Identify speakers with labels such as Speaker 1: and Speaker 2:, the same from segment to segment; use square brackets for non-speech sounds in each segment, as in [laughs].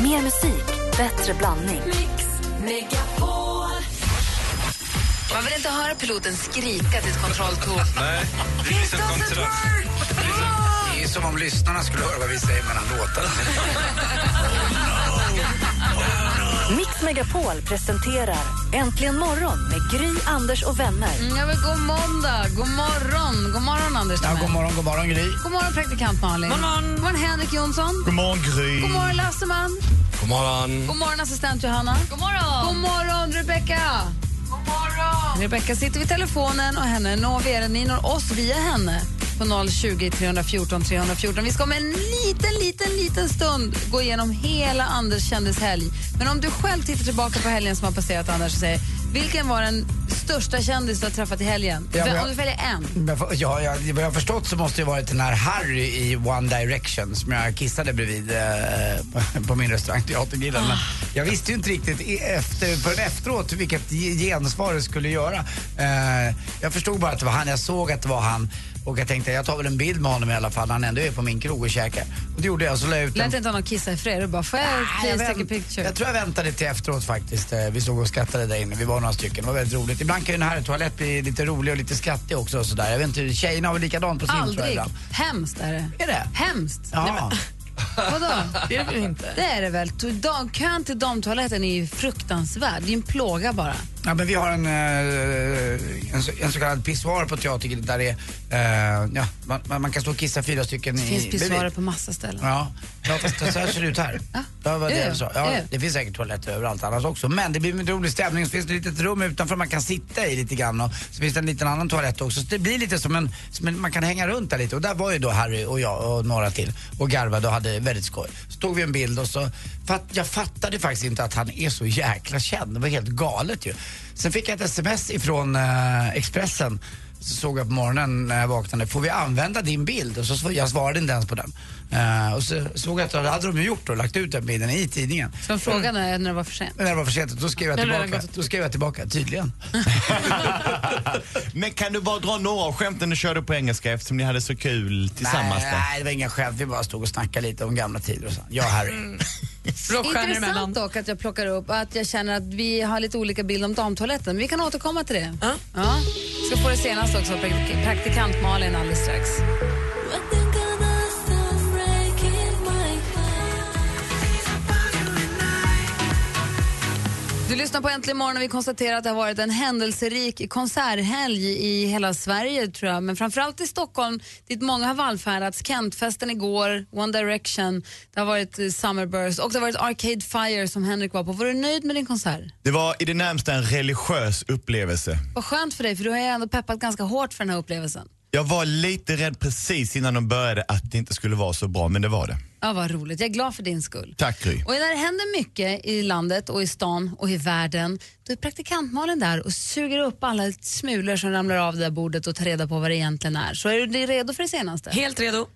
Speaker 1: Mer musik, bättre blandning.
Speaker 2: Mix Megapol. Man vill inte höra piloten skrika till ett kontrolltorn.
Speaker 3: Nej, det finns ett kontrakt.
Speaker 4: Det är ju som om lyssnarna skulle höra vad vi säger mellan låtarna.
Speaker 1: Mix Megapol presenterar Äntligen morgon med Gry, Anders och vänner.
Speaker 2: Mm, ja, men god måndag, god morgon, god morgon Anders
Speaker 4: Ja, god morgon, god morgon Gry.
Speaker 2: God morgon praktikant Malin. God morgon. god morgon Henrik Jonsson.
Speaker 5: God morgon, Gry.
Speaker 2: God morgon Lasseman.
Speaker 6: God morgon.
Speaker 2: God morgon assistent Johanna. God morgon. God morgon Rebecka. God morgon. Rebecka sitter vid telefonen och henne når vi, eller ni når oss via henne på 020 314 314. Vi ska om en liten, liten, liten stund gå igenom hela Anders kändishelg. Men om du själv tittar tillbaka på helgen som har passerat Anders och säger vilken var den största kändis du har träffat i helgen?
Speaker 4: Ja, men jag-
Speaker 2: Om du väljer en.
Speaker 4: Men för- Ja, ja, vad jag har förstått så måste det varit den här Harry i One Direction som jag kissade bredvid eh, på min restaurang Teatergrillen. Men jag visste ju inte riktigt i- efter, förrän efteråt vilket ge- gensvar det skulle göra. Eh, jag förstod bara att det var han, jag såg att det var han och jag tänkte jag tar väl en bild med honom i alla fall när han ändå är på min krog och käkar. Och det gjorde jag, så la jag ut en
Speaker 2: Lät inte honom kissa i fred. Du bara, får jag
Speaker 4: Nej,
Speaker 2: please
Speaker 4: jag,
Speaker 2: take a
Speaker 4: vänt,
Speaker 2: picture?
Speaker 4: jag tror jag väntade till efteråt faktiskt. Eh, Vi stod och skrattade där inne. Vi var några stycken. Det var väldigt roligt. Ibland kan ju den här toalett bli lite rolig och lite skrattig också och sådär. Jag vet inte, tjejerna har väl likadant på sin tror jag
Speaker 2: Aldrig.
Speaker 4: ibland.
Speaker 2: Hemskt är det.
Speaker 4: Är det?
Speaker 2: Hemskt. Nej, men-
Speaker 4: Ja.
Speaker 2: Vadå? Det är det väl inte? Det är det väl. To- dam- Kön till damtoaletten är ju fruktansvärd. Det är ju en plåga bara.
Speaker 4: ja, men vi har en, eh, en, så, en så kallad pissoar på teatern där det är, eh, ja, man- man, man kan stå och kissa fyra stycken
Speaker 2: Det finns
Speaker 4: i
Speaker 2: pissoarer
Speaker 4: bredvid.
Speaker 2: på massa ställen.
Speaker 4: Ja, ja fast så här ser det ut här.
Speaker 2: Ja.
Speaker 4: Ja, vad det,
Speaker 2: Ja, ja.
Speaker 4: jag sa.
Speaker 2: Ja,
Speaker 4: ja,
Speaker 2: ja.
Speaker 4: det finns säkert toaletter överallt annars också. Men det blir en rolig stämning. Så finns det ett litet rum utanför man kan sitta i lite grann. Och så finns det en liten annan toalett också. Så det blir lite som en, som en man kan hänga runt där lite. Och där var ju då Harry och jag och några till och garvade och hade väldigt skoj. Så tog vi en bild och så, fatt, jag fattade faktiskt inte att han är så jäkla känd. Det var helt galet ju. Sen fick jag ett sms ifrån eh, Expressen så såg jag på morgonen när jag vaknade, får vi använda din bild? Och så sv- jag svarade inte ens på den. Eh, och så såg jag att det hade de ju gjort och lagt ut den bilden i tidningen.
Speaker 2: Så frågan är när det var för sent.
Speaker 4: Men när det var för sent, då skrev jag
Speaker 7: Eller redan
Speaker 4: tillbaka,
Speaker 7: gått-
Speaker 4: då skrev jag tillbaka tydligen.
Speaker 6: Men kan du bara dra några av skämten du körde på engelska eftersom ni hade så kul tillsammans?
Speaker 4: nej,
Speaker 6: där?
Speaker 4: nej, det var inga skämt. Vi bara stod och snackade lite om gamla tider och så. Jag och Harry.
Speaker 7: Rockstjärnor
Speaker 2: Intressant
Speaker 7: emellan.
Speaker 2: dock att jag plockar upp att jag känner att vi har lite olika bild om damtoaletten. Vi kan återkomma till det.
Speaker 7: Ja.
Speaker 2: Ja. Ska få det senaste också, prak- praktikant Malin alldeles strax. Du lyssnar på Äntligen morgon och vi konstaterar att det har varit en händelserik konserthelg i hela Sverige tror jag, men framförallt i Stockholm dit många har vallfärdats. Kentfesten igår, One Direction, det har varit eh, Summerburst och det har varit Arcade Fire som Henrik var på. Var du nöjd med din konsert?
Speaker 6: Det var i det närmsta en religiös upplevelse.
Speaker 2: Vad skönt för dig för du har ju ändå peppat ganska hårt för den här upplevelsen.
Speaker 6: Jag var lite rädd precis innan de började att det inte skulle vara så bra, men det var det.
Speaker 2: Ja, vad roligt. Jag är glad för din skull.
Speaker 6: Tack Gry.
Speaker 2: Och när det händer mycket i landet och i stan och i världen, då är praktikantmalen där och suger upp alla smulor som ramlar av det där bordet och tar reda på vad det egentligen är. Så är du redo för det senaste?
Speaker 7: Helt redo.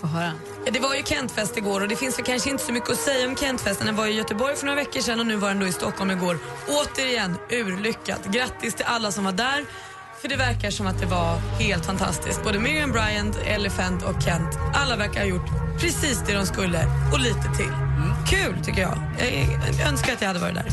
Speaker 2: Få höra.
Speaker 7: Det var ju Kentfest igår och det finns väl kanske inte så mycket att säga om Kentfesten. Den var i Göteborg för några veckor sedan och nu var den då i Stockholm igår. Återigen urlyckat. Grattis till alla som var där. För det verkar som att det var helt fantastiskt. Både Miriam Bryant, Elephant och Kent. Alla verkar ha gjort precis det de skulle och lite till. Mm, Kul tycker jag. Jag önskar att jag hade varit där.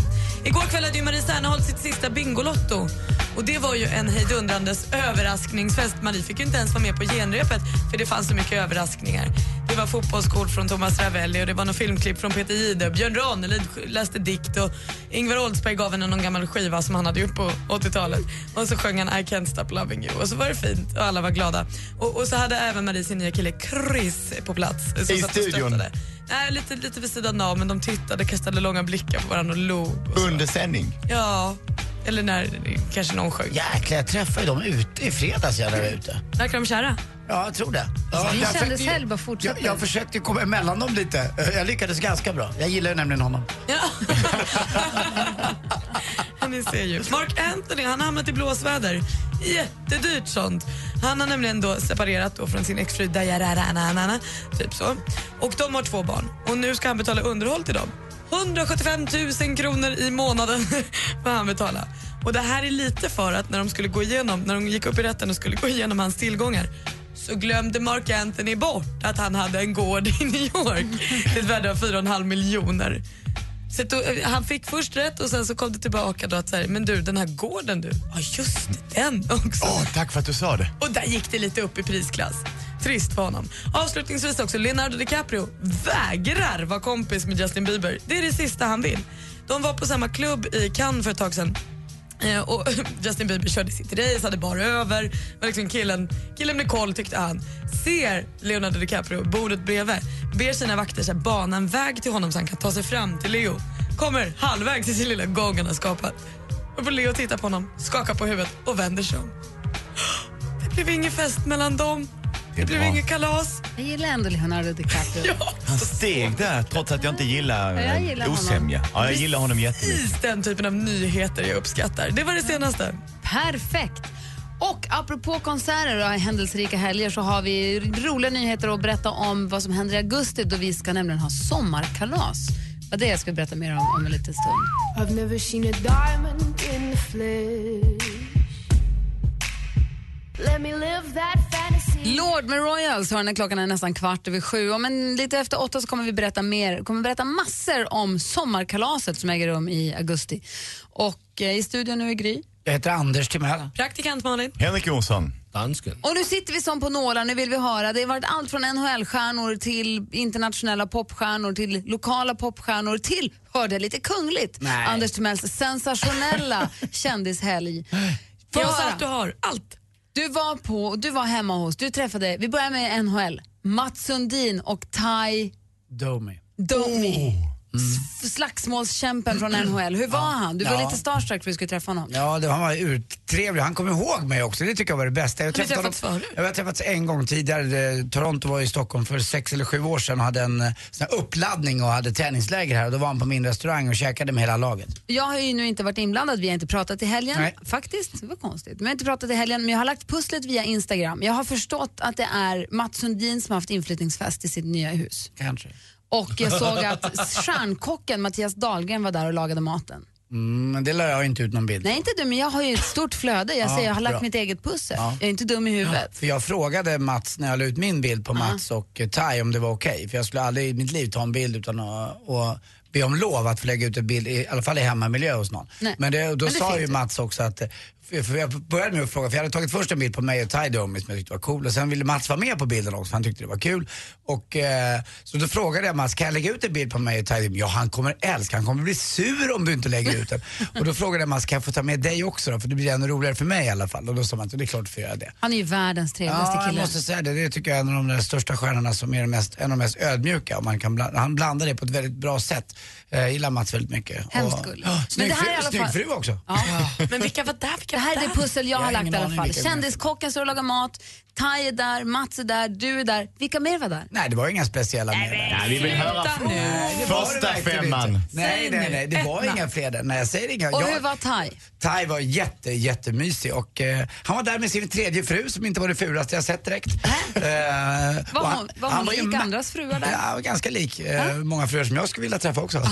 Speaker 7: Igår kväll hade ju Marie Serneholt sitt sista Bingolotto. Och det var ju en hejdundrandes överraskningsfest. Marie fick ju inte ens vara med på genrepet för det fanns så mycket överraskningar. Det var fotbollskort från Thomas Ravelli och det var någon filmklipp från Peter Jihde. Björn Ranelid läste dikt och Ingvar Oldsberg gav henne någon gammal skiva som han hade gjort på 80-talet. Och så sjöng han I can't stop loving you och så var det fint och alla var glada. Och, och så hade även Marie sin nya kille Chris på plats. Som
Speaker 6: I
Speaker 7: satt och
Speaker 6: studion?
Speaker 7: stöttade. Nej, lite, lite vid sidan av men de tittade, kastade långa blickar på varandra och log. Och så.
Speaker 6: Under sändning.
Speaker 7: Ja, eller när kanske någon sjöng.
Speaker 4: Jäklar, jag träffade ju dem ute i fredags jag där var ute.
Speaker 7: Verkar de kära?
Speaker 4: Ja, jag tror det. Ja,
Speaker 2: Din
Speaker 4: jag försökte-
Speaker 2: kändishelg bara fortsätter.
Speaker 4: jag, jag försökte komma emellan dem lite. Jag lyckades ganska bra. Jag gillar ju nämligen honom.
Speaker 7: Ja. Ja, Ni ser ju. Mark Anthony han har hamnat i blåsväder. Jättedyrt sånt. Han har nämligen då separerat då från sin exfru Dajararana, typ så. Och de har två barn och nu ska han betala underhåll till dem. 175 000 kronor i månaden får han betala. Och det här är lite för att när de skulle gå igenom, när de gick upp i rätten och skulle gå igenom hans tillgångar så glömde Mark Anthony bort att han hade en gård i New York till ett värde av 4,5 miljoner. Så att då, eh, han fick först rätt och sen så kom det tillbaka då att så här, men du den här gården du, ja just det, den också.
Speaker 6: Åh, tack för att du sa det.
Speaker 7: Och där gick det lite upp i prisklass. Trist för honom. Avslutningsvis också, Leonardo DiCaprio vägrar vara kompis med Justin Bieber. Det är det sista han vill. De var på samma klubb i Cannes för ett tag sedan. Eh, och [laughs] Justin Bieber körde sitt race, hade bara över. Och liksom killen, killen blev koll tyckte han. Ser Leonardo DiCaprio bordet bredvid. Ber sina vakter så här, bana en väg till honom så han kan ta sig fram till Leo. Kommer halvvägs till sin lilla gång han har skapat. Och får Leo titta på honom, skakar på huvudet och vänder sig om. Det blev ingen fest mellan dem.
Speaker 6: Det
Speaker 7: Det,
Speaker 6: är
Speaker 7: blev
Speaker 6: bra.
Speaker 7: inget kalas.
Speaker 2: Jag gillar ändå Leonardo DiCaprio.
Speaker 6: Han steg där trots att jag inte gillar,
Speaker 2: Ja, jag gillar
Speaker 6: eh,
Speaker 2: honom.
Speaker 6: osämja. Ja, jag gillar honom jättemycket.
Speaker 7: Precis den typen av nyheter jag uppskattar. Det var det senaste.
Speaker 2: Perfekt! Och apropå konserter och händelserika helger så har vi roliga nyheter att berätta om vad som händer i augusti då vi ska nämligen ha sommarkalas. Vad det är ska vi berätta mer om om en liten stund.
Speaker 5: I've never seen a diamond in the flesh. Let me live that fantasy.
Speaker 2: Lord med Royals har när klockan är nästan kvart över sju. Om en, lite efter åtta så kommer vi berätta mer, kommer berätta massor om sommarkalaset som äger rum i augusti. Och eh, i studion nu är Gry.
Speaker 4: Jag heter Anders Timell.
Speaker 7: Praktikant Malin.
Speaker 6: Henrik Jonsson.
Speaker 8: Dansken.
Speaker 2: Och nu sitter vi som på nålar, nu vill vi höra. Det har varit allt från NHL-stjärnor till internationella popstjärnor till lokala popstjärnor till, hörde jag lite kungligt,
Speaker 4: Nej.
Speaker 2: Anders Timells sensationella kändishelg. Få
Speaker 7: Jag sa
Speaker 2: höra.
Speaker 7: att du har allt.
Speaker 2: Du var på, du var hemma hos, du träffade, vi börjar med NHL, Mats Sundin och Tai
Speaker 4: Domi.
Speaker 2: Domi. S- Mm. Slagsmålskämpen från NHL. Hur var han? Du var
Speaker 4: Oh. Mm. Ja.
Speaker 2: lite starstruck för att du skulle träffa honom.
Speaker 4: Ja, det, han var urtrevlig. Han kom ihåg mig också. Det tycker jag var det bästa. Jag
Speaker 7: Har ni träffats
Speaker 4: honom-
Speaker 7: förut?
Speaker 4: Ja, Vi har träffats en gång tidigare. Eh, Toronto var i Stockholm för sex eller sju år sedan och hade en eh, sån här uppladdning och hade träningsläger här. Och då var han på min restaurang och käkade med hela laget.
Speaker 2: Jag har ju nu inte varit inblandad, vi har inte pratat i helgen.
Speaker 4: Nej.
Speaker 2: Faktiskt, det var konstigt. Vi har inte pratat i helgen, men jag har lagt pusslet via Instagram. Jag har förstått att det är Mats Sundin som har haft inflyttningsfest i sitt nya hus.
Speaker 4: Kanske.
Speaker 2: Och jag såg
Speaker 4: [laughs]
Speaker 2: att stjärnkocken Mattias Dahlgren var där och lagade maten.
Speaker 4: Mm, men det la jag inte ut någon bild
Speaker 2: Nej, inte du, men jag har ju ett stort flöde. Jag säger, jag har lagt
Speaker 4: bra.
Speaker 2: mitt eget pussel. Jag är inte dum i huvudet.
Speaker 4: För jag frågade Mats när jag la ut min bild på Mats och eh, Tai om det var okej. För jag skulle aldrig i mitt liv ta en bild utan att och be om lov att få lägga ut en bild, i alla fall i hemmamiljö hos någon.
Speaker 2: Nej.
Speaker 4: Men det, då
Speaker 2: Men det
Speaker 4: sa
Speaker 2: fick
Speaker 4: ju
Speaker 2: du.
Speaker 4: Mats också att, eh, för för jag började med att fråga, för jag hade tagit först en bild på mig och Tai Domi som jag tyckte var cool och sen ville Mats vara med på bilden också för han tyckte det var kul. Och, eh, så då frågade jag Mats, kan jag lägga ut en bild på mig och Tai Domi? Ja, han kommer älska, han kommer bli sur om du inte lägger ut den. och då frågade jag Mats, kan jag få ta med dig också då? För det blir ännu roligare för mig i alla fall. Och då sa Mats, det är klart du får göra det.
Speaker 2: Han är ju världens trevligaste
Speaker 4: Ja, jag
Speaker 2: kille.
Speaker 4: måste säga det. Det tycker jag är en av de där största stjärnorna som är den mest, en av de mest ödmjuka. Och man kan bland, han blandar det på ett väldigt bra sätt. Jag gillar Mats väldigt mycket.
Speaker 2: Hemskt
Speaker 4: Och-
Speaker 2: gullig.
Speaker 4: Ja,
Speaker 2: Men
Speaker 4: Snygg,
Speaker 2: det här är i alla
Speaker 4: fru, snygg
Speaker 2: fall-
Speaker 4: fru också.
Speaker 2: Ja.
Speaker 7: Men vilka var där? Vilka
Speaker 2: Det här
Speaker 7: var
Speaker 2: är det
Speaker 7: där?
Speaker 2: pussel jag,
Speaker 4: Jag
Speaker 2: har
Speaker 4: har
Speaker 2: lagt
Speaker 4: ingen
Speaker 2: i alla
Speaker 4: aning
Speaker 2: fall.
Speaker 4: vilka det är.
Speaker 2: Kändiskocken står och lagar mat, Tai är där, Mats är där, du är där. Vilka mer var där?
Speaker 4: Nej, det var inga speciella med det.
Speaker 6: Nej, vi vill höra
Speaker 7: Sluta nu.
Speaker 4: Nej, det var det
Speaker 6: Första
Speaker 4: verkligen
Speaker 6: femman.
Speaker 4: inte. Nej,
Speaker 7: Säg
Speaker 4: nej,
Speaker 7: nu,
Speaker 4: nej. Det var
Speaker 7: ettan.
Speaker 4: inga fler där. Nej, jag säger inga.
Speaker 2: Och
Speaker 4: jag,
Speaker 2: hur var Tai?
Speaker 4: Tai var jätte, jättemysig och eh, han var där med sin tredje fru som inte var det fulaste jag sett direkt. Eh,
Speaker 2: Äh? Var
Speaker 4: och
Speaker 2: hon- var hon
Speaker 4: ju
Speaker 2: lik
Speaker 4: ma-
Speaker 2: andras fruar där? Äh?
Speaker 4: Ja, ganska lik. Eh, många fruar som jag skulle vilja träffa också. [laughs]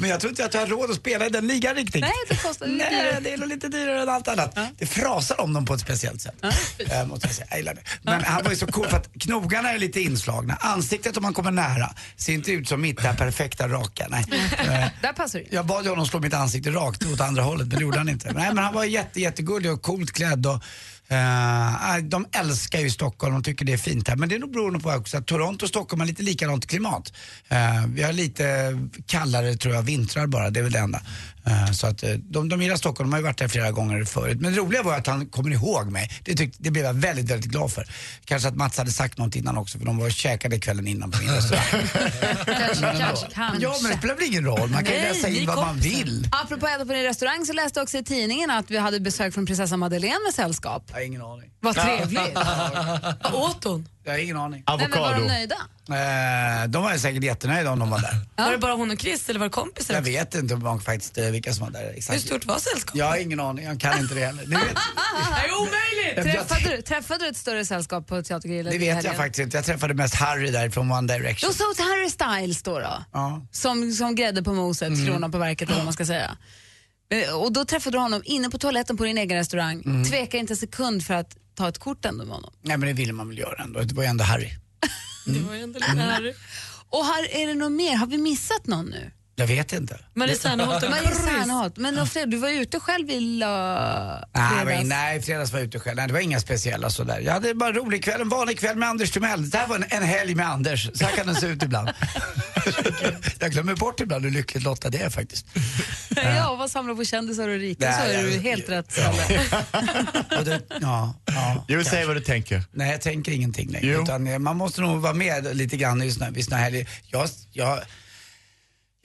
Speaker 4: Men jag tror inte att jag har råd att spela i den ligan riktigt.
Speaker 2: Nej, det kostar lite
Speaker 4: Nej,
Speaker 2: dyrare.
Speaker 4: det är nog lite dyrare än allt annat. Det frasar om dem på ett speciellt sätt. Eh, måste jag säga. Jag gillar det. Men han var ju så cool för att knogarna är lite inslagna. Ansiktet om man kommer nära ser inte ut som mitt där perfekta raka.
Speaker 2: [laughs]
Speaker 4: Nej. Eh,
Speaker 2: Där passar [laughs] du.
Speaker 4: jag bad ju honom slå mitt ansikte rakt åt andra hållet, men det gjorde han inte. Nej, men han var jätte, jättegullig och coolt klädd. Och, eh, de älskar ju Stockholm, de tycker det är fint här. Men det är nog beroende på också att Toronto och Stockholm har lite likadant klimat. Eh, vi har lite kallare, tror jag, vintrar bara, det är väl det enda. Eh, så att, eh, de, de gillar Stockholm, de har ju varit där flera gånger förut. Men det roliga var att han kommer ihåg mig. Det, tyckte, det blev jag väldigt, väldigt glad för. Kanske att Mats hade sagt något innan också, för de var och käkade kvällen innan [laughs] på min restaurang.
Speaker 2: Kanske, kanske,
Speaker 4: Ja, men det
Speaker 2: kanske.
Speaker 4: spelar väl ingen roll, man kan ju
Speaker 2: Nej,
Speaker 4: läsa
Speaker 2: ni är
Speaker 4: in vad man
Speaker 2: kompisar.
Speaker 4: vill.
Speaker 2: Apropå äta på din restaurang så läste jag också i tidningen att vi hade besök från prinsessa Madeleine med sällskap.
Speaker 4: Jag har ingen aning.
Speaker 2: Vad trevligt.
Speaker 7: Vad åt hon?
Speaker 4: [laughs] Jag har ingen aning.
Speaker 2: Nej, men var
Speaker 6: Avokado.
Speaker 2: de nöjda?
Speaker 4: Eh, de var ju säkert jättenöjda om de var där.
Speaker 7: Var det bara hon och Chris eller var det kompisar
Speaker 4: Jag
Speaker 7: också?
Speaker 4: vet inte om de faktiskt eh, vilka som var där
Speaker 7: Hur
Speaker 4: exakt.
Speaker 7: stort var sällskapet?
Speaker 4: Jag har ingen aning, jag kan inte det heller. Det vet,
Speaker 7: Det är
Speaker 2: [laughs]
Speaker 7: omöjligt!
Speaker 2: Träffade du, träffade du ett större sällskap på Teatergrillen
Speaker 4: det
Speaker 2: i
Speaker 4: vet jag
Speaker 2: helgen?
Speaker 4: faktiskt inte. Jag träffade mest Harry där från One Direction.
Speaker 2: Då sågs Harry Styles då, då
Speaker 4: Ja.
Speaker 2: som, som grädde på moset,
Speaker 4: Mm.
Speaker 2: kronan på verket eller vad man ska säga.
Speaker 4: Mm.
Speaker 2: Eh, Och då träffade du honom inne på toaletten på din egen restaurang. Tveka inte en sekund för att ta ett kort ändå med honom.
Speaker 4: Nej men det ville man väl göra ändå. Det var ju ändå Harry.
Speaker 7: Det var ju ändå lite här.
Speaker 2: Och här är det något mer? Har vi missat någon nu?
Speaker 4: Jag vet inte.
Speaker 7: Marie Serneholt och
Speaker 2: Marie
Speaker 7: Chris.
Speaker 2: Serneholt. Men då Fred, du var ju ute själv i lö...
Speaker 4: Nej,
Speaker 2: fredags.
Speaker 4: men, nej, fredags var jag ute själv. Nej, det var inga speciella sådär. Jag hade bara en rolig kväll, en vanlig kväll med Anders Timell. Det här var en, en helg med Anders. Så här kan den se
Speaker 2: [laughs]
Speaker 4: ut ibland. jag glömmer bort ibland hur lyckligt lottad jag är faktiskt.
Speaker 2: Ja, vad samlar på kändisar och rika. Så
Speaker 4: Nej,
Speaker 2: är
Speaker 4: jag-
Speaker 2: du helt rätt
Speaker 4: Ja.
Speaker 2: ställe.
Speaker 4: Och det, ja, ja.
Speaker 6: Jo, säg vad du tänker.
Speaker 4: Nej, jag tänker ingenting längre.
Speaker 6: Jo.
Speaker 4: Utan eh, man måste nog vara med lite grann i såna, vid såna här... Jag, jag,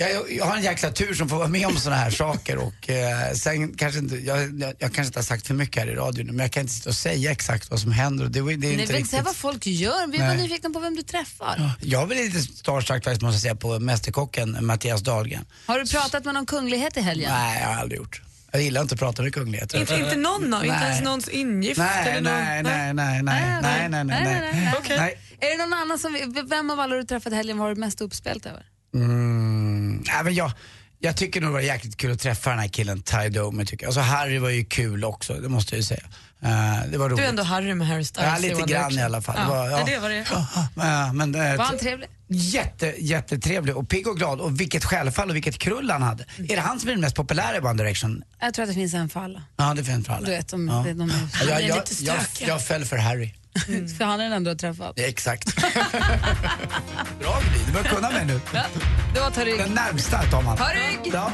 Speaker 4: jag, jag har en jäkla tur som får vara med om såna här saker och eh, sen kanske inte, jag, jag, jag kanske inte har sagt för mycket här i radion nu men jag kan inte sitta och säga exakt vad som händer och det, var- det är
Speaker 2: Nej,
Speaker 4: inte
Speaker 2: vi inte
Speaker 4: riktigt...
Speaker 2: säga vad folk gör. Vi är bara
Speaker 4: Nej.
Speaker 2: nyfikna på vem du träffar.
Speaker 4: Jag blir lite starstruck faktiskt måste jag säga på Mästerkocken Mattias Dahlgren.
Speaker 2: Har du pratat med någon kunglighet i helgen?
Speaker 4: Nej, jag har aldrig gjort. Jag gillar inte att prata med kungligheter.
Speaker 7: Inte, inte någon av, inte
Speaker 4: Nej.
Speaker 7: ens någons ingift
Speaker 4: Nej,
Speaker 7: eller
Speaker 4: nej,
Speaker 7: någon.
Speaker 4: nej, nej, nej, nej, nej, nej, nej.
Speaker 7: Okej.
Speaker 4: Nej.
Speaker 2: Är det någon annan som, vi- vem av alla du träffat i helgen var du mest uppspelt över?
Speaker 4: Mm, nej, men jag, jag tycker nog det var jäkligt kul att träffa den här killen Ty Domer tycker jag. Alltså Harry var ju kul också, det måste jag ju säga. Eh, det var roligt.
Speaker 7: Du är ändå Harry med Harry Styles.
Speaker 4: Ja, lite
Speaker 7: Johan
Speaker 4: grann
Speaker 7: Eriksson.
Speaker 4: i alla fall. Det
Speaker 7: Ja.
Speaker 4: var- ja.
Speaker 7: Nej, det var det.
Speaker 4: Ja, men, det-
Speaker 2: Var han trevlig?
Speaker 4: Jätte, jättetrevlig och pigg och glad och vilket självfall och vilket krull han hade. Är det han som är den mest populära i One Direction?
Speaker 2: Jag tror att det finns en för alla.
Speaker 4: Ja, det finns för alla.
Speaker 2: Du vet, de,
Speaker 4: ja.
Speaker 2: de, de,
Speaker 4: Ja,
Speaker 2: han
Speaker 4: jag,
Speaker 2: är
Speaker 4: jag,
Speaker 2: lite
Speaker 4: jag,
Speaker 2: stökig.
Speaker 4: jag föll
Speaker 2: [laughs]
Speaker 4: för Harry.
Speaker 2: För han är den enda du har träffat.
Speaker 4: Det är exakt. [laughs] Bra Gry, du börjar kunna mig nu.
Speaker 2: Ja, det var ta rygg.
Speaker 4: Den närmsta tar man.
Speaker 2: Ta rygg!
Speaker 4: Ja.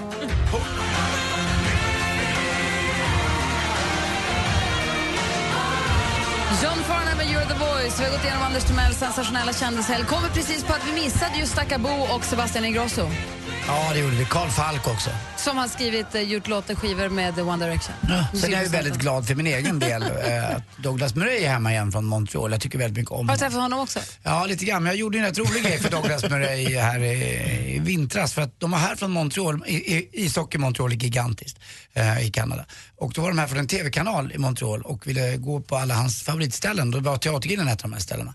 Speaker 2: John Farnham med You're the voice. Vi har gått igenom Anders Timells sensationella kändishelg. Kommer precis på att vi missade just Stakabo och Sebastian Ingrosso
Speaker 4: ja, det gjorde vi. Karl Falk också.
Speaker 2: som har skrivit, eh, gjort låtar, skivor med eh, One Direction.
Speaker 4: Sen är jag ju
Speaker 2: Superstarka.
Speaker 4: väldigt glad för min egen del eh, att Douglas Murray är hemma igen från Montreal. Jag tycker väldigt mycket om
Speaker 2: Har du
Speaker 4: honom.
Speaker 2: träffat honom också?
Speaker 4: Ja, lite grann. Men jag gjorde ju en rätt rolig grej för Douglas Murray här i, i vintras. För att de var här från Montreal, i, i, ishockey i Montreal är gigantiskt eh, i Kanada. Och då var de här från en TV-kanal i Montreal och ville gå på alla hans favoritställen. Då var Teatergrillen ett av de här ställena.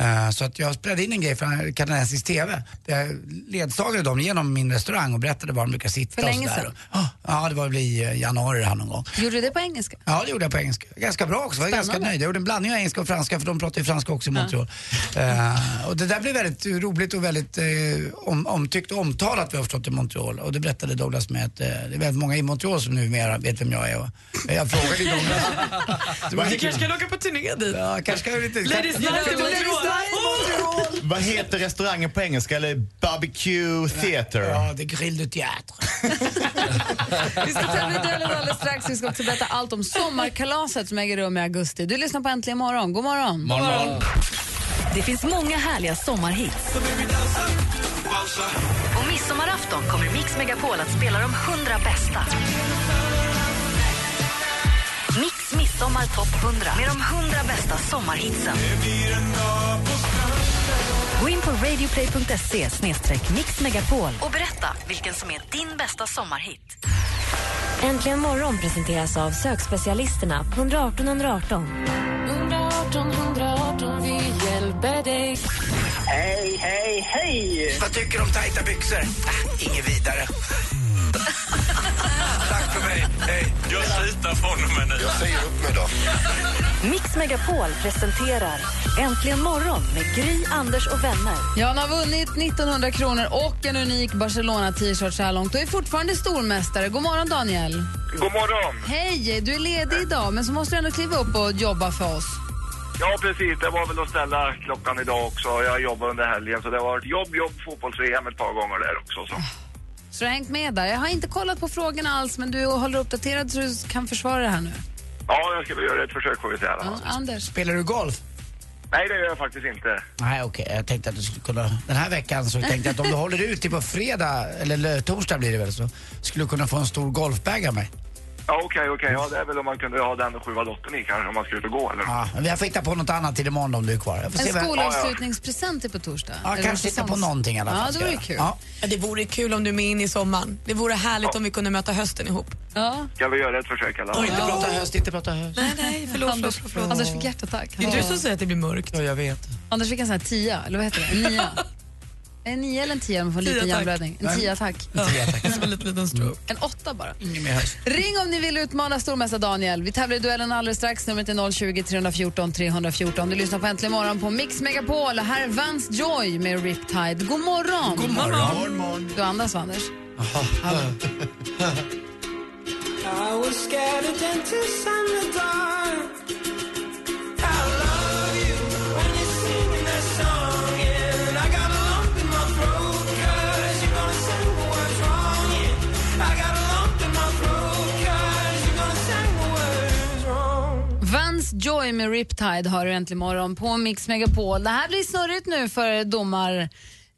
Speaker 4: Eh, Så att jag spelade in en grej från kanadensisk TV. Där jag ledsagade dem genom min restaurang och berättade var de brukar sitta
Speaker 2: För länge
Speaker 4: och sådär.
Speaker 2: sedan?
Speaker 4: Ja, Ja, det var väl i eh, januari här någon gång.
Speaker 2: Gjorde du det på
Speaker 4: [laughs]
Speaker 2: engelska?
Speaker 4: Ja, det gjorde jag på engelska. Ganska bra också. Jag var ganska nöjd. Jag gjorde en blandning av engelska och franska för de pratar ju franska också i Montreal. Eh, och det där blev väldigt eh, roligt och väldigt eh, om, omtyckt och omtalat vi har förstått i Montreal. Och det berättade Douglas med att eh, det är väldigt många i Montreal som numera vet vem jag är. Och, eh, jag frågade ju Douglas. Det var
Speaker 7: Du kanske kan åka på turné dit?
Speaker 4: Ja, kanske kan jag lite...
Speaker 7: Ladies night
Speaker 4: Kanske-
Speaker 7: in Montreal.
Speaker 6: Vad heter restaurangen på engelska? Eller barbecue theater?
Speaker 4: Ja, det är grill du teater.
Speaker 2: Vi ska tävla i duellen alldeles strax. Vi ska också berätta allt om sommarkalaset som äger rum i augusti. Du lyssnar på Äntligen morgon. God morgon.
Speaker 1: Det finns många härliga sommarhits. Och midsommarafton kommer Mix Megapol att spela de 100 bästa. Mix Midsommar Topp 100 med de 100 bästa sommarhitsen. Gå in på radioplay.se mixmegapol och berätta vilken som är din bästa sommarhit.
Speaker 8: Äntligen morgon presenteras av sökspecialisterna på 118 118.
Speaker 4: Vad tycker du om tajta byxor? Ah, inget vidare. Tack för mig. Hej.
Speaker 3: Jag slutar från och med nu.
Speaker 1: Mix Megapol presenterar Äntligen morgon med Gry, Anders och vänner.
Speaker 2: Jan har vunnit 1900 kronor och en unik Barcelona-t-shirt så här långt och är fortfarande stormästare. God morgon, Daniel.
Speaker 9: God morgon.
Speaker 2: Hej, du är ledig idag men så måste du ändå kliva upp och jobba för oss.
Speaker 9: Ja, precis. Det var väl att ställa klockan idag också. Jag jobbar under helgen, så det har varit jobb, jobb, fotbolls-VM ett par gånger där också. Så.
Speaker 2: Så du har hängt med där. Jag har inte kollat på frågorna alls men du håller uppdaterad så du kan försvara det här nu.
Speaker 9: Ja, jag ska väl göra ett försök får vi se. i alla
Speaker 2: Ja,
Speaker 9: fall.
Speaker 2: Anders.
Speaker 4: Spelar du golf?
Speaker 9: Nej, det gör jag faktiskt inte.
Speaker 4: Nej okej, jag tänkte att du skulle kunna, den här veckan så tänkte jag att om du håller ut till på fredag, eller lö- torsdag blir det väl, så skulle du kunna få en stor golfbag av mig.
Speaker 9: Ja, okej, okej. Ja, det är väl om man kunde ha den och sjuva dottern i kanske om man skulle ut och gå eller?
Speaker 4: Ja, men jag får hitta på något annat till imorgon om du är kvar. Jag får se
Speaker 2: En
Speaker 4: vad-
Speaker 2: skolavslutningspresent är på torsdag.
Speaker 4: Ja,
Speaker 2: Eller
Speaker 4: kanske hitta på
Speaker 2: säsongs-
Speaker 4: någonting i alla fall.
Speaker 2: Ja, det
Speaker 4: ska
Speaker 2: vore
Speaker 4: jag
Speaker 2: kul.
Speaker 4: göra.
Speaker 2: Ja.
Speaker 7: Ja, det vore kul om du är med in i sommaren. Det vore härligt om vi kunde möta hösten ihop.
Speaker 9: Ska vi göra ett försök i alla
Speaker 4: Och
Speaker 9: fall?
Speaker 4: inte prata höst, inte prata höst.
Speaker 7: Nej, nej, förlåt. förlåt,
Speaker 2: Anders,
Speaker 7: förlåt.
Speaker 2: Anders fick hjärtattack.
Speaker 7: Det är du som säger att det blir mörkt.
Speaker 4: Ja, jag vet. [laughs]
Speaker 2: Anders fick en sån här tia, eller vad heter det? En nia. En nio eller en tia om man får en
Speaker 7: Tia,
Speaker 2: liten
Speaker 7: tack.
Speaker 2: hjärnblödning? En tia, tack.
Speaker 7: Ja, som en liten, liten stroke.
Speaker 2: En åtta bara.
Speaker 4: Ingen mer höst.
Speaker 2: Ring om ni vill utmana stormästare Daniel. Vi tävlar i duellen alldeles strax. Numret är 020 314 314. Du lyssnar på Äntligen morgon på Mix Megapol. Och Här är Vance Joy med Riptide. God morgon! God
Speaker 6: Morgon, morgon.
Speaker 2: Du andas, va, Anders? Vans Joy med Riptide har du äntligen morgon på Mix Megapol. Det här blir snurrigt nu för domar,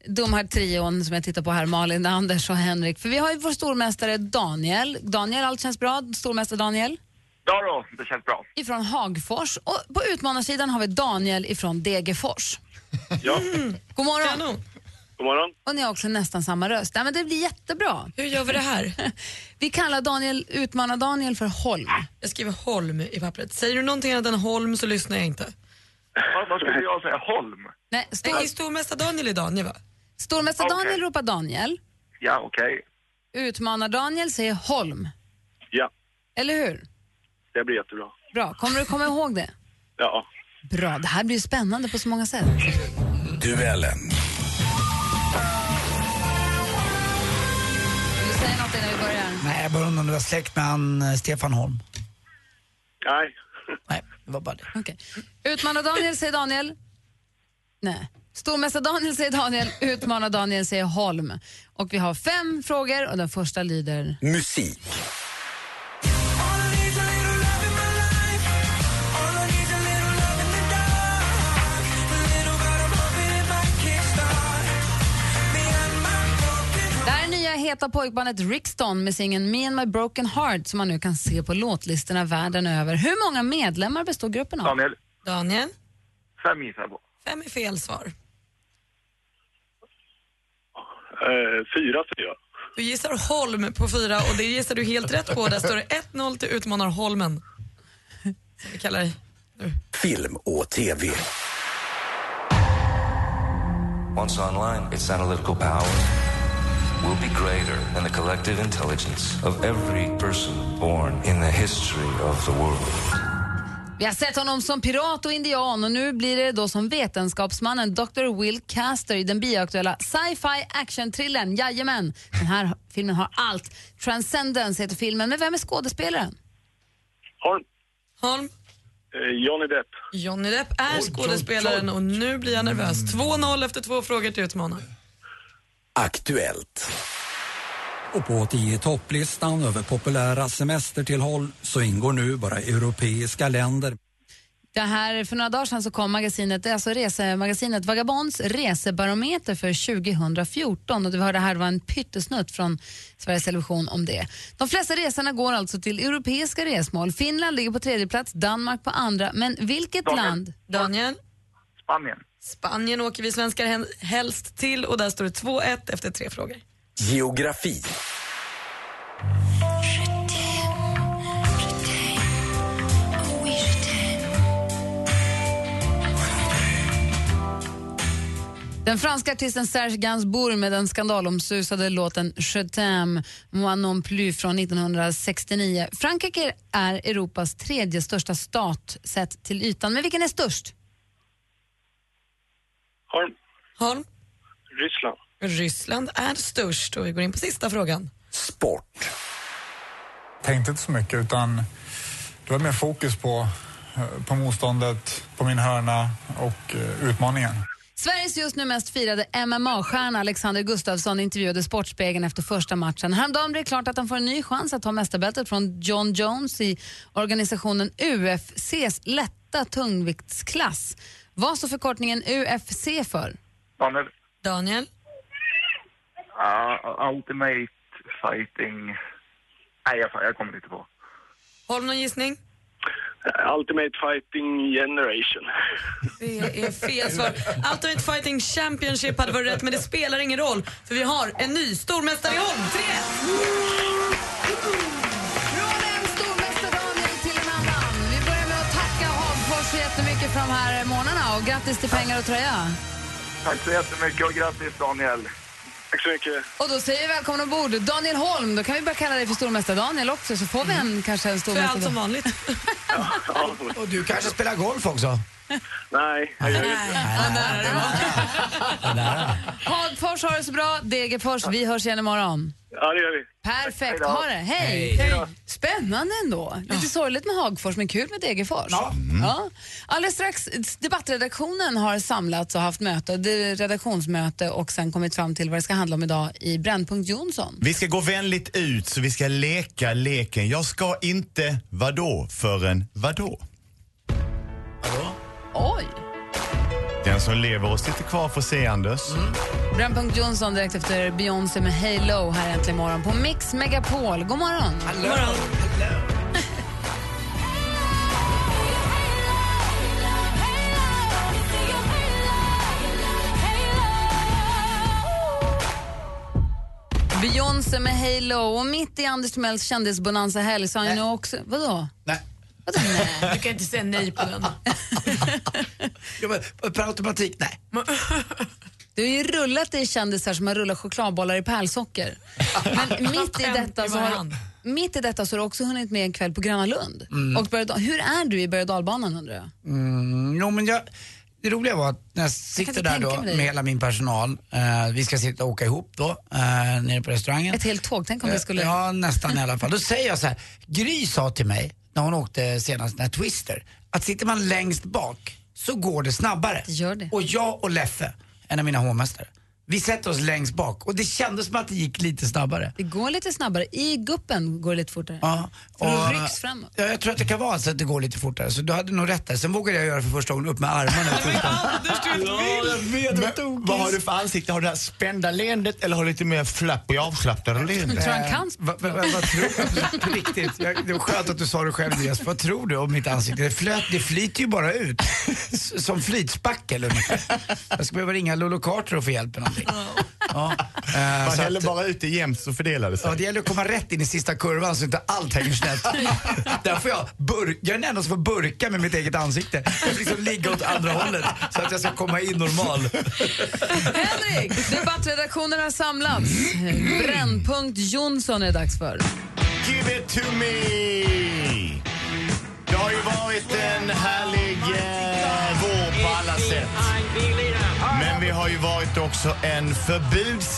Speaker 2: domartrion som jag tittar på här, Malin, Anders och Henrik. För vi har ju vår stormästare Daniel. Daniel, allt känns bra? Stormästare Daniel
Speaker 9: Ja då, det känns bra.
Speaker 2: ifrån Hagfors och på utmanarsidan har vi Daniel ifrån Degerfors.
Speaker 9: Ja.
Speaker 2: God morgon!
Speaker 7: Kanon.
Speaker 9: God morgon.
Speaker 2: Och ni har också nästan samma röst. Nej, men det blir jättebra.
Speaker 7: Hur gör vi det här?
Speaker 2: Vi kallar Daniel, utmanar Daniel för Holm.
Speaker 7: Jag skriver Holm i pappret. Säger du någonting annat än Holm så lyssnar jag inte.
Speaker 9: Vad, vad skulle jag säga? Holm?
Speaker 2: Nej,
Speaker 7: Nej,
Speaker 2: stor,
Speaker 7: stormästare Daniel är Daniel va?
Speaker 2: stormästare
Speaker 9: Okej.
Speaker 2: Daniel ropar Daniel.
Speaker 9: Ja, okej.
Speaker 2: Utmanar Daniel säger Holm.
Speaker 9: Ja,
Speaker 2: Eller hur?
Speaker 9: det blir jättebra.
Speaker 2: Bra. Kommer du komma ihåg det?
Speaker 9: Ja.
Speaker 2: Bra. Det här blir ju spännande på så många sätt.
Speaker 4: Duellen.
Speaker 2: Vill du säga något innan vi börjar?
Speaker 4: Nej, jag bara undrar om du var släkt med han eh, Stefan Holm.
Speaker 9: Nej.
Speaker 4: Nej, det var bara det.
Speaker 2: Okej. Utmanar Daniel säger Daniel. Nej. Stormästare Daniel säger Daniel, utmanar Daniel säger Holm. Och vi har fem frågor och den första lyder...
Speaker 10: Musik.
Speaker 2: Det här är nya heta pojkbandet Rikston med singeln Me and my broken heart som man nu kan se på låtlistorna världen över. Hur många medlemmar består gruppen av?
Speaker 9: Daniel,
Speaker 7: Daniel?
Speaker 9: fem gissar jag på.
Speaker 7: Fem är fel svar.
Speaker 9: Eh, fyra säger jag.
Speaker 7: Du gissar Holm på fyra och det gissar du helt rätt på. Där står det 1-0 till utmanar Holmen. Som vi kallar dig.
Speaker 10: Film och TV.
Speaker 11: Once online, its analytical power will be greater than the collective intelligence of every person born in the history of the world.
Speaker 2: Vi har sett honom som pirat och indian och nu blir det då som vetenskapsmannen Dr. Will Caster i den bioaktuella sci-fi action-thrillern Jajamän. Den här filmen har allt. Transcendence heter filmen, men vem är skådespelaren?
Speaker 9: Holm.
Speaker 7: Holm?
Speaker 9: eh, Johnny Depp.
Speaker 7: Johnny Depp är skådespelaren och nu blir jag nervös. 2-0 efter två frågor till utmanar.
Speaker 10: Aktuellt. Och på 10 topplistan över populära semestertillhåll så ingår nu bara europeiska länder.
Speaker 2: Det här, för några dagar sedan så kom magasinet, alltså resemagasinet Vagabonds resebarometer för 2014 och du hörde här, det var en pyttesnutt från Sveriges Television om det. De flesta resorna går alltså till europeiska resmål. Finland ligger på tredje plats, Danmark på andra, men vilket
Speaker 9: Daniel.
Speaker 2: land?
Speaker 7: Daniel?
Speaker 9: Spanien.
Speaker 7: Spanien åker vi svenskar hen- helst till och där står det 2-1 efter tre frågor.
Speaker 10: Geografi.
Speaker 2: Den franska artisten Serge Gainsbourg med den skandalomsusade låten Je t'aime, moi non plus från 1969. Frankrike är Europas tredje största stat sett till ytan, men vilken är störst?
Speaker 9: Holm.
Speaker 7: Holm?
Speaker 9: Ryssland.
Speaker 7: Ryssland är störst och vi går in på sista frågan.
Speaker 10: Sport.
Speaker 11: Tänkte inte så mycket utan det var mer fokus på,
Speaker 6: eh,
Speaker 11: på motståndet, på min hörna och
Speaker 6: eh,
Speaker 11: utmaningen.
Speaker 2: Sveriges just nu mest firade MMA-stjärna Alexander Gustafsson intervjuade Sportspegeln efter första matchen. Häromdagen blev det klart att han får en ny chans att ta mästarbältet från John Jones i organisationen UFCs lätta tungviktsklass. Vad står förkortningen UFC för?
Speaker 9: Daniel.
Speaker 7: Daniel?
Speaker 9: Uh, ultimate fighting... Nej, jag, jag kommer inte på.
Speaker 7: Holm, någon gissning?
Speaker 9: Eh, Ultimate fighting generation.
Speaker 7: Det är fel svar. Ultimate Fighting Championship hade varit rätt, men det spelar ingen roll för vi har en ny stormästare i Holm. Tre!
Speaker 2: Från en stormästare Daniel till en annan. Vi börjar med att tacka Hagfors så jättemycket för de här månaderna och grattis till pengar och tröja.
Speaker 9: Tack så jättemycket och grattis Daniel. Tack så mycket.
Speaker 2: Och då säger vi välkommen ombord. Daniel Holm, då kan vi börja kalla dig för stormästare-Daniel också så får vi en, kanske en
Speaker 7: Mm. För
Speaker 2: stormästare.
Speaker 7: allt
Speaker 2: [laughs]
Speaker 7: som vanligt.
Speaker 4: Och du kanske spelar golf också?
Speaker 9: Nej, jag gör inte det.
Speaker 2: Hagfors har det så bra, Degerfors, vi hörs igen imorgon.
Speaker 9: Ja, det gör vi. Hej
Speaker 2: Perfekt,
Speaker 9: då.
Speaker 2: ha det. Hej! Spännande ändå. Lite sorgligt med Hagfors, men kul med Degerfors. Ja. Mm. Alldeles strax, debattredaktionen har samlats och haft möte, det är redaktionsmöte och sen kommit fram till vad det ska handla om idag i Brännpunkt Jonsson.
Speaker 6: Vi ska gå vänligt ut så vi ska leka leken. Jag ska inte vadå förrän vadå?
Speaker 2: Oj!
Speaker 6: Den som lever och sitter kvar får se Anders.
Speaker 2: Brännpunkt Jonsson direkt efter Beyoncé med Halo här äntligen morgon på Mix Megapol. God morgon!
Speaker 4: God morgon.
Speaker 2: Beyoncé med Halo och mitt i Anders Timells kändisbonanza-helg så har han ju också... Vadå? [laughs]
Speaker 4: Nej.
Speaker 2: Vadå nej?
Speaker 7: Du kan inte säga nej på den.
Speaker 4: Ja, men Per automatik, nej.
Speaker 2: Du har ju rullat i kändisar som har rullat chokladbollar i pärlsocker. Men mitt i detta så har, mitt i detta så har du också hunnit med en kväll på Gröna Lund.
Speaker 4: Mm.
Speaker 2: Och berg- hur är du i berg och dalbanan undrar jag?
Speaker 4: Mm, jo, men jag, det roliga var att när jag sitter
Speaker 2: inte
Speaker 4: där
Speaker 2: tänka
Speaker 4: då
Speaker 2: mig det.
Speaker 4: med hela min personal, eh, vi ska sitta och åka ihop då eh, nere på restaurangen.
Speaker 2: Ett helt tåg, tänk om det skulle...
Speaker 4: Eh, Ja, nästan i alla fall. Då säger jag så här, Gry sa till mig när hon åkte senast, när Twister, att sitter man längst bak så går det snabbare. Och jag och Leffe, en av mina hovmästare, vi sätter oss längst bak och det kändes som att det gick lite snabbare.
Speaker 2: Det går lite snabbare. I guppen går det lite fortare.
Speaker 4: Ja,
Speaker 2: För då
Speaker 4: och-
Speaker 2: rycks framåt.
Speaker 4: Ja, jag tror att det kan vara så att det går lite fortare, så du hade nog rätt där. Sen vågade jag göra för första gången upp med armarna.
Speaker 2: [laughs]
Speaker 6: Men, vad har du för ansikte? Har du det här spända leendet eller har du lite mer flapp och avslappnade leende?
Speaker 4: Vad, vad, vad tror du? På riktigt. Jag, det var skönt att du sa det själv Jesper. Vad tror du om mitt ansikte? Det, flöt, det flyter ju bara ut. S- Som flytspackel ungefär. Jag ska behöva ringa Lolo Carter och få hjälp med någonting. Ja. eh,
Speaker 6: Man
Speaker 4: så
Speaker 6: häller
Speaker 4: att-
Speaker 6: bara ut det jämnt så fördelar det sig.
Speaker 4: Ja, det gäller att komma rätt in i sista kurvan så inte allt hänger snett. Där får jag, bur- jag är den enda som får burka med mitt eget ansikte. Jag får liksom ligga åt andra hållet så att jag ska komma in normal.
Speaker 2: Henrik, debattredaktionen har samlats. Brännpunkt Jonsson är det dags för.
Speaker 6: Give it to me! Det har ju varit en härlig eh, vår på alla sätt. Men vi har ju varit också en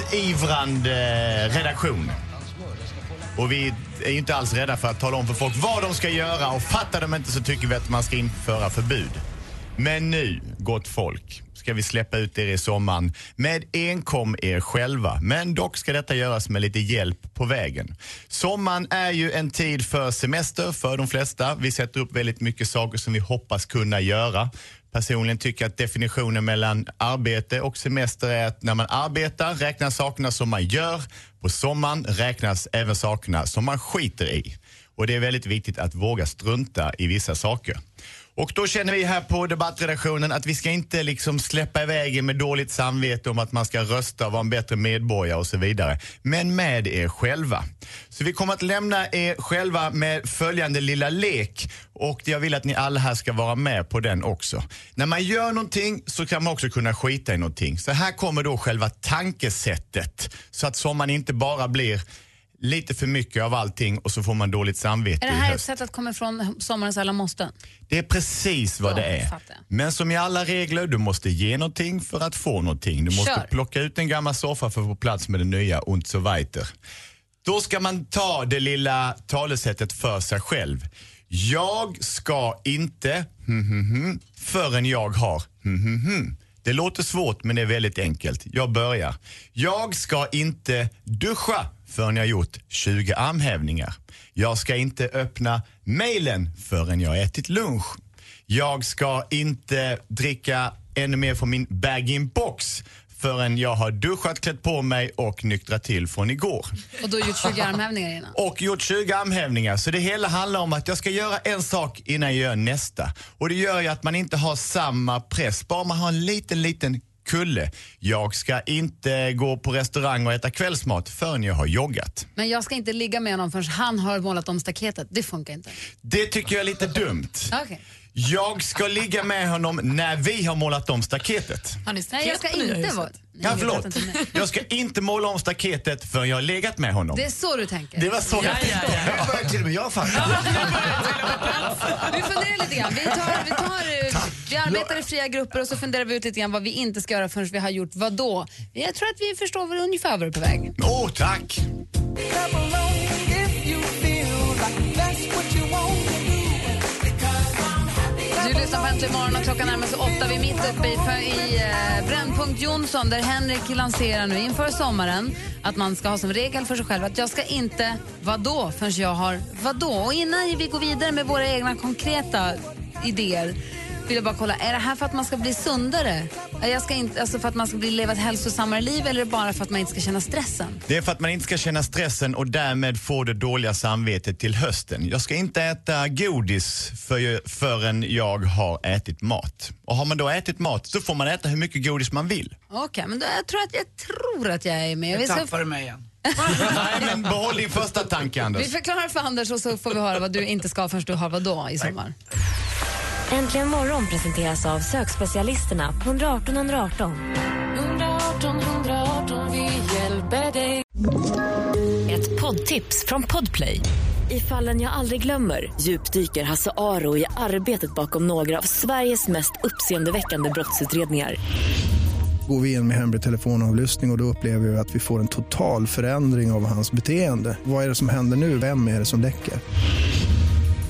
Speaker 6: förbudsivrande redaktion. Och vi är ju inte alls rädda för att tala om för folk vad de ska göra och fattar de inte så tycker vi att man ska införa förbud. Men nu, gott folk, ska vi släppa ut er i sommaren med enkom er själva. Men dock ska detta göras med lite hjälp på vägen. Sommaren är ju en tid för semester för de flesta. Vi sätter upp väldigt mycket saker som vi hoppas kunna göra. Personligen tycker jag att definitionen mellan arbete och semester är att när man arbetar räknas sakerna som man gör. På sommaren räknas även sakerna som man skiter i. Och det är väldigt viktigt att våga strunta i vissa saker. Och då känner vi här på debattredaktionen att vi ska inte liksom släppa iväg er med dåligt samvete om att man ska rösta och vara en bättre medborgare och så vidare. Men med er själva. Så vi kommer att lämna er själva med följande lilla lek och jag vill att ni alla här ska vara med på den också. När man gör någonting så kan man också kunna skita i någonting. Så här kommer då själva tankesättet så att sommaren inte bara blir lite för mycket av allting och så får man dåligt samvete
Speaker 2: Är det
Speaker 6: i
Speaker 2: här ett
Speaker 6: höst.
Speaker 2: sätt att komma ifrån sommarens alla måsten?
Speaker 6: Det är precis vad
Speaker 2: Ja,
Speaker 6: det är.
Speaker 2: fattar
Speaker 6: Men som i alla regler, du måste ge någonting för att få någonting. Du måste
Speaker 2: Kör.
Speaker 6: plocka ut en gammal soffa för att få plats med den nya und so weiter. Då ska man ta det lilla talesättet för sig själv. Jag ska inte hm, hm, hm, förrän jag har hm, hm, hm. Det låter svårt men det är väldigt enkelt. Jag börjar. Jag ska inte duscha förrän jag gjort 20 armhävningar. Jag ska inte öppna mejlen förrän jag ätit lunch. Jag ska inte dricka ännu mer från min bag-in-box förrän jag har duschat, klätt på mig och nyktrat till från igår.
Speaker 2: Och då gjort 20 armhävningar innan.
Speaker 6: Och gjort 20 armhävningar. Så det hela handlar om att jag ska göra en sak innan jag gör nästa. Och det gör ju att man inte har samma press. Bara man har en liten, liten kulle. Jag ska inte gå på restaurang och äta kvällsmat förrän jag har joggat.
Speaker 2: Men jag ska inte ligga med honom förrän han har målat om staketet. Det funkar inte.
Speaker 6: Det tycker jag är lite dumt.
Speaker 2: Okej.
Speaker 6: Jag ska ligga med honom när vi har målat om staketet.
Speaker 7: Har ni
Speaker 2: Nej, jag ska
Speaker 7: staket på nya
Speaker 2: inte
Speaker 7: huset?
Speaker 2: vara... Nej,
Speaker 6: Ja,
Speaker 2: jag
Speaker 6: förlåt.
Speaker 2: pratar inte med-
Speaker 6: Jag ska inte måla om staketet förrän jag har legat med honom.
Speaker 2: Det är så du tänker?
Speaker 6: Det var så jag tänkte.
Speaker 12: Nu börjar till och med jag fatta.
Speaker 2: Vi funderar lite grann. Vi, tar, vi, tar, eh, vi arbetar i fria grupper och så funderar vi ut lite grann vad vi inte ska göra förrän vi har gjort vad då. Jag tror att vi förstår vad- ungefär vad du är på väg.
Speaker 6: Åh, tack!
Speaker 2: Du lyssnar på Äntligen morgon och klockan närmar sig åtta. Vi är mitt uppe i, för, i eh, Brännpunkt Jonsson där Henrik lanserar nu inför sommaren att man ska ha som regel för sig själv att jag ska inte vadå förrän jag har vadå. Och innan vi går vidare med våra egna konkreta idéer vill jag bara kolla, är det här för att man ska bli sundare? Är Jag ska inte, alltså för att man ska bli, leva ett hälsosammare liv eller är det bara för att man inte ska känna stressen?
Speaker 6: Det är för att man inte ska känna stressen och därmed få det dåliga samvetet till hösten. Jag ska inte äta godis för, förrän jag har ätit mat. Och har man då ätit mat så får man äta hur mycket godis
Speaker 2: [laughs]
Speaker 6: man vill.
Speaker 2: Okej, men då, jag, tror att, jag tror att jag är med. Vi,
Speaker 12: Jag
Speaker 2: ska,
Speaker 12: tappade mig igen.
Speaker 6: Nej, men behåll din första tanke, Anders.
Speaker 2: vi förklarar för Anders och så får vi höra vad du inte ska förrän du har vadå i sommar.
Speaker 13: Äntligen morgon presenteras av sökspecialisterna på 118 118.
Speaker 1: Ett poddtips från Podplay. I fallen jag aldrig glömmer djupdyker Hasse Aro i arbetet bakom några av Sveriges mest uppseendeväckande brottsutredningar.
Speaker 9: Går vi in med hemlig telefonavlyssning och, och då upplever vi att vi får en total förändring av hans beteende. Vad är det som händer nu? Vem är det som läcker?